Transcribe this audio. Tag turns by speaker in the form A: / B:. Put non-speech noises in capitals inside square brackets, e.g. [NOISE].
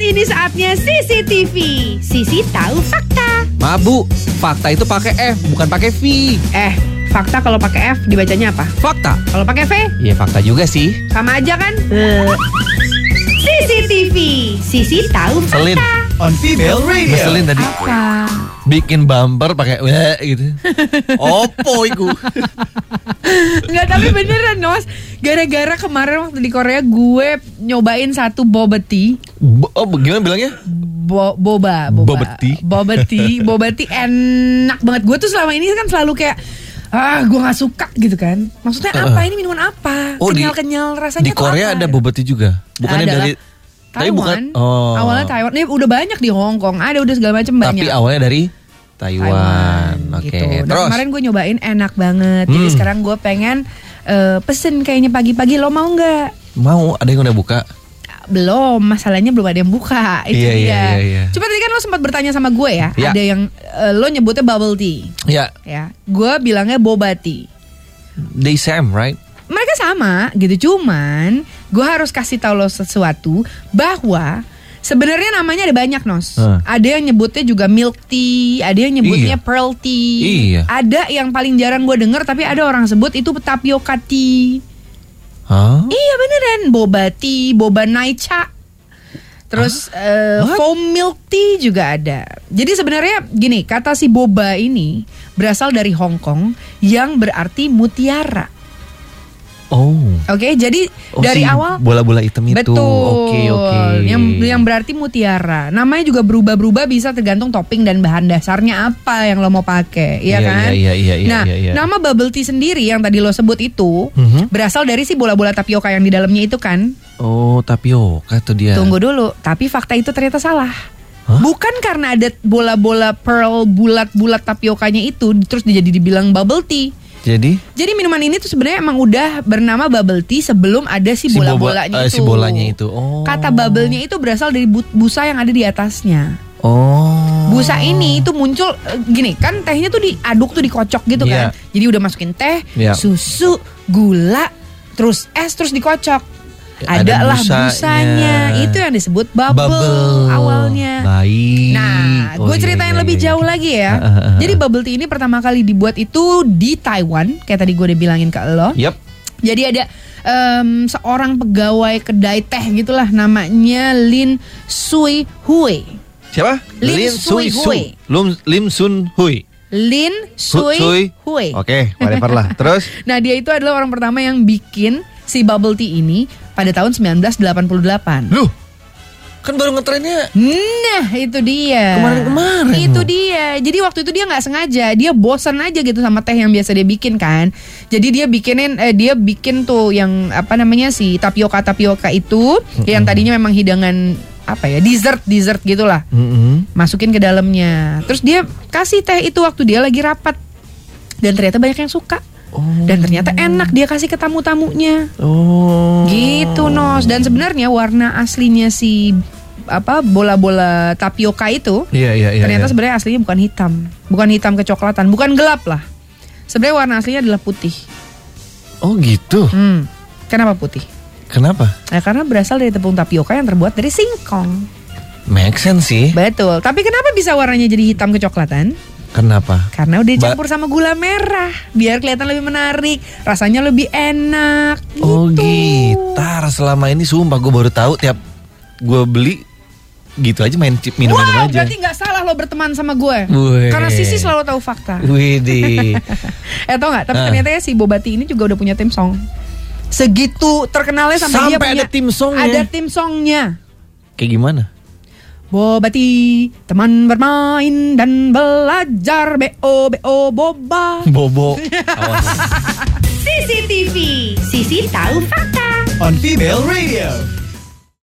A: Kini saatnya CCTV. Sisi tahu fakta.
B: Maaf bu, fakta itu pakai F bukan pakai V.
A: Eh, fakta kalau pakai F dibacanya apa?
B: Fakta.
A: Kalau pakai V
B: Iya fakta juga sih.
A: sama aja kan? Eh. CCTV. Sisi tahu
B: Selin.
A: fakta.
C: on Female Radio.
B: Ngeselin tadi
A: Apa?
B: bikin bumper pakai weh gitu. [LAUGHS] Opo iku.
D: Enggak tapi beneran Nos Gara-gara kemarin waktu di Korea Gue nyobain satu boba tea
B: Bo- oh, gimana bilangnya?
D: Bo- boba, boba
B: Boba tea.
D: boba
B: [LAUGHS]
D: tea, boba tea enak banget. Gue tuh selama ini kan selalu kayak ah gue nggak suka gitu kan. Maksudnya
B: Heeh.
D: apa ini minuman apa?
B: Oh, di-
D: kenyal kenyal rasanya.
B: Di
D: tuh
B: Korea
D: apa?
B: ada boba tea juga. Bukannya
D: Ada
B: dari
D: lah. Taiwan.
B: Tapi bukan oh.
D: Awalnya Taiwan. Nih udah banyak di Hong Kong. Ada udah segala macam banyak.
B: Tapi awalnya dari Taiwan. Oke.
D: gitu. Dan
B: Terus
D: kemarin gue nyobain enak banget. Jadi
B: Hmm.
D: sekarang gue pengen eh, pesen kayaknya pagi-pagi lo mau nggak?
B: mau ada yang udah buka?
D: belum masalahnya belum ada yang buka itu
B: Iya,
D: dia.
B: iya, iya, iya.
D: Cuma tadi kan lo sempat bertanya sama gue ya,
B: Iya.
D: ada yang eh, lo nyebutnya bubble tea,
B: Ya,
D: ya. Gue bilangnya boba tea.
B: they same, right?
D: Mereka sama gitu, cuman gue harus kasih tau lo sesuatu bahwa sebenarnya namanya ada banyak nos.
B: Heeh.
D: Ada yang nyebutnya juga milk tea, ada yang nyebutnya
B: Iya.
D: pearl tea.
B: Iya.
D: Ada yang paling jarang gue denger tapi ada orang sebut itu tapioca tea.
B: Hah?
D: Iya beneran boba tea, boba naicha. Terus eh,
B: What?
D: foam milk tea juga ada. Jadi sebenarnya gini, kata si boba ini berasal dari Hong Kong yang berarti mutiara.
B: Oh.
D: Oke, jadi
B: Oh,
D: dari
B: si
D: awal
B: bola-bola hitam itu.
D: betul.
B: Oke, oke.
D: Yang yang berarti mutiara. Namanya juga berubah-berubah bisa tergantung topping dan bahan dasarnya apa yang lo mau pakai, iya
B: Iya,
D: kan?
B: iya, iya, iya,
D: nah,
B: iya, iya.
D: nama bubble tea sendiri yang tadi lo sebut itu
B: Mhm.
D: berasal dari si bola-bola tapioka yang di dalamnya itu kan?
B: Oh, tapioka tuh dia.
D: Tunggu dulu, tapi fakta itu ternyata salah.
B: Ya. Hah?
D: Bukan karena ada bola-bola pearl bulat-bulat tapiokanya itu terus jadi dibilang bubble tea.
B: Jadi
D: Jadi minuman ini tuh sebenarnya emang udah bernama bubble tea sebelum ada si
B: Si boba-
D: bola-bolanya
B: eh,
D: itu.
B: si bolanya itu. Oh.
D: Kata bubble-nya itu berasal dari bu- busa yang ada di atasnya.
B: Oh.
D: Busa ini itu muncul eh, gini kan tehnya tuh diaduk tuh dikocok gitu
B: Iya.
D: kan. Jadi udah masukin teh,
B: Iya.
D: susu, gula, terus es terus dikocok.
B: Ya, Ada
D: Adalah
B: busanya.
D: busanya. itu yang disebut bubble, awalnya.
B: Baik.
D: Nah,
B: Oh,
D: gue
B: iya,
D: ceritain
B: iya,
D: lebih
B: iya.
D: jauh lagi ya.
B: Ah, ah, ah,
D: Jadi bubble tea ini pertama kali dibuat itu di Taiwan, kayak tadi gue udah bilangin ke lo.
B: Yap.
D: Jadi ada em, seorang pegawai kedai teh gitulah namanya Lin Sui Hui.
B: Siapa?
D: Lim Sui
B: Su.
D: Hui.
B: Lim, Lim Sun Hui.
D: Lin Sui, Hui.
B: Oke, whatever
D: [LAUGHS]
B: lah. Terus
D: Nah, dia itu adalah orang pertama yang bikin si bubble tea ini pada tahun 1988.
B: Loh. Kan baru ngetrennya
D: Nah, itu dia.
B: Kemarin-kemarin
D: Itu
B: loh.
D: dia. Jadi waktu itu dia nggak sengaja, dia bosan aja gitu sama teh yang biasa dia bikin kan. Jadi dia bikinin eh, dia bikin tuh yang apa namanya si tapioka tapioka itu yang tadinya memang hidangan apa ya, dessert dessert gitulah.
B: Mm-mm.
D: Masukin ke dalamnya. Terus dia kasih teh itu waktu dia lagi rapat. Dan ternyata banyak yang suka.
B: Oh.
D: Dan ternyata enak dia kasih ke tamu-tamunya.
B: Oh.
D: Gitu Nos dan sebenarnya warna aslinya si apa bola-bola tapioka itu
B: Iya, iya, iya.
D: ternyata
B: iya.
D: sebenarnya aslinya bukan hitam, bukan hitam kecoklatan, bukan gelap lah. Sebenarnya warna aslinya adalah putih.
B: Oh, gitu.
D: Hmm. Kenapa putih?
B: Kenapa?
D: Ya, karena berasal dari tepung tapioka yang terbuat dari singkong.
B: Make sense sih.
D: Betul. Tapi kenapa bisa warnanya jadi hitam kecoklatan?
B: Kenapa?
D: Karena udah
B: Ba-
D: dicampur sama gula merah, biar kelihatan lebih menarik, rasanya lebih enak.
B: Oh
D: gitu.
B: gitar selama ini sumpah gue baru tahu tiap gue beli gitu aja main chip minuman
D: Wow,
B: aja.
D: berarti nggak salah lo berteman sama gue.
B: Weh.
D: Karena Sisi selalu tahu
B: [LAUGHS]
D: fakta.
B: Widih.
D: eh tau nggak? Tapi
B: Ah.
D: ternyata ya si Bobati ini juga udah punya tim song. Segitu terkenalnya sampai, dia
B: Sampai
D: punya
B: ada tim songnya.
D: Ada tim songnya.
B: Kayak gimana?
D: Bobati teman bermain dan belajar bo bo boba.
B: Bobo. Awas.
A: CCTV. Sisi tahu fakta.
C: On Female Radio.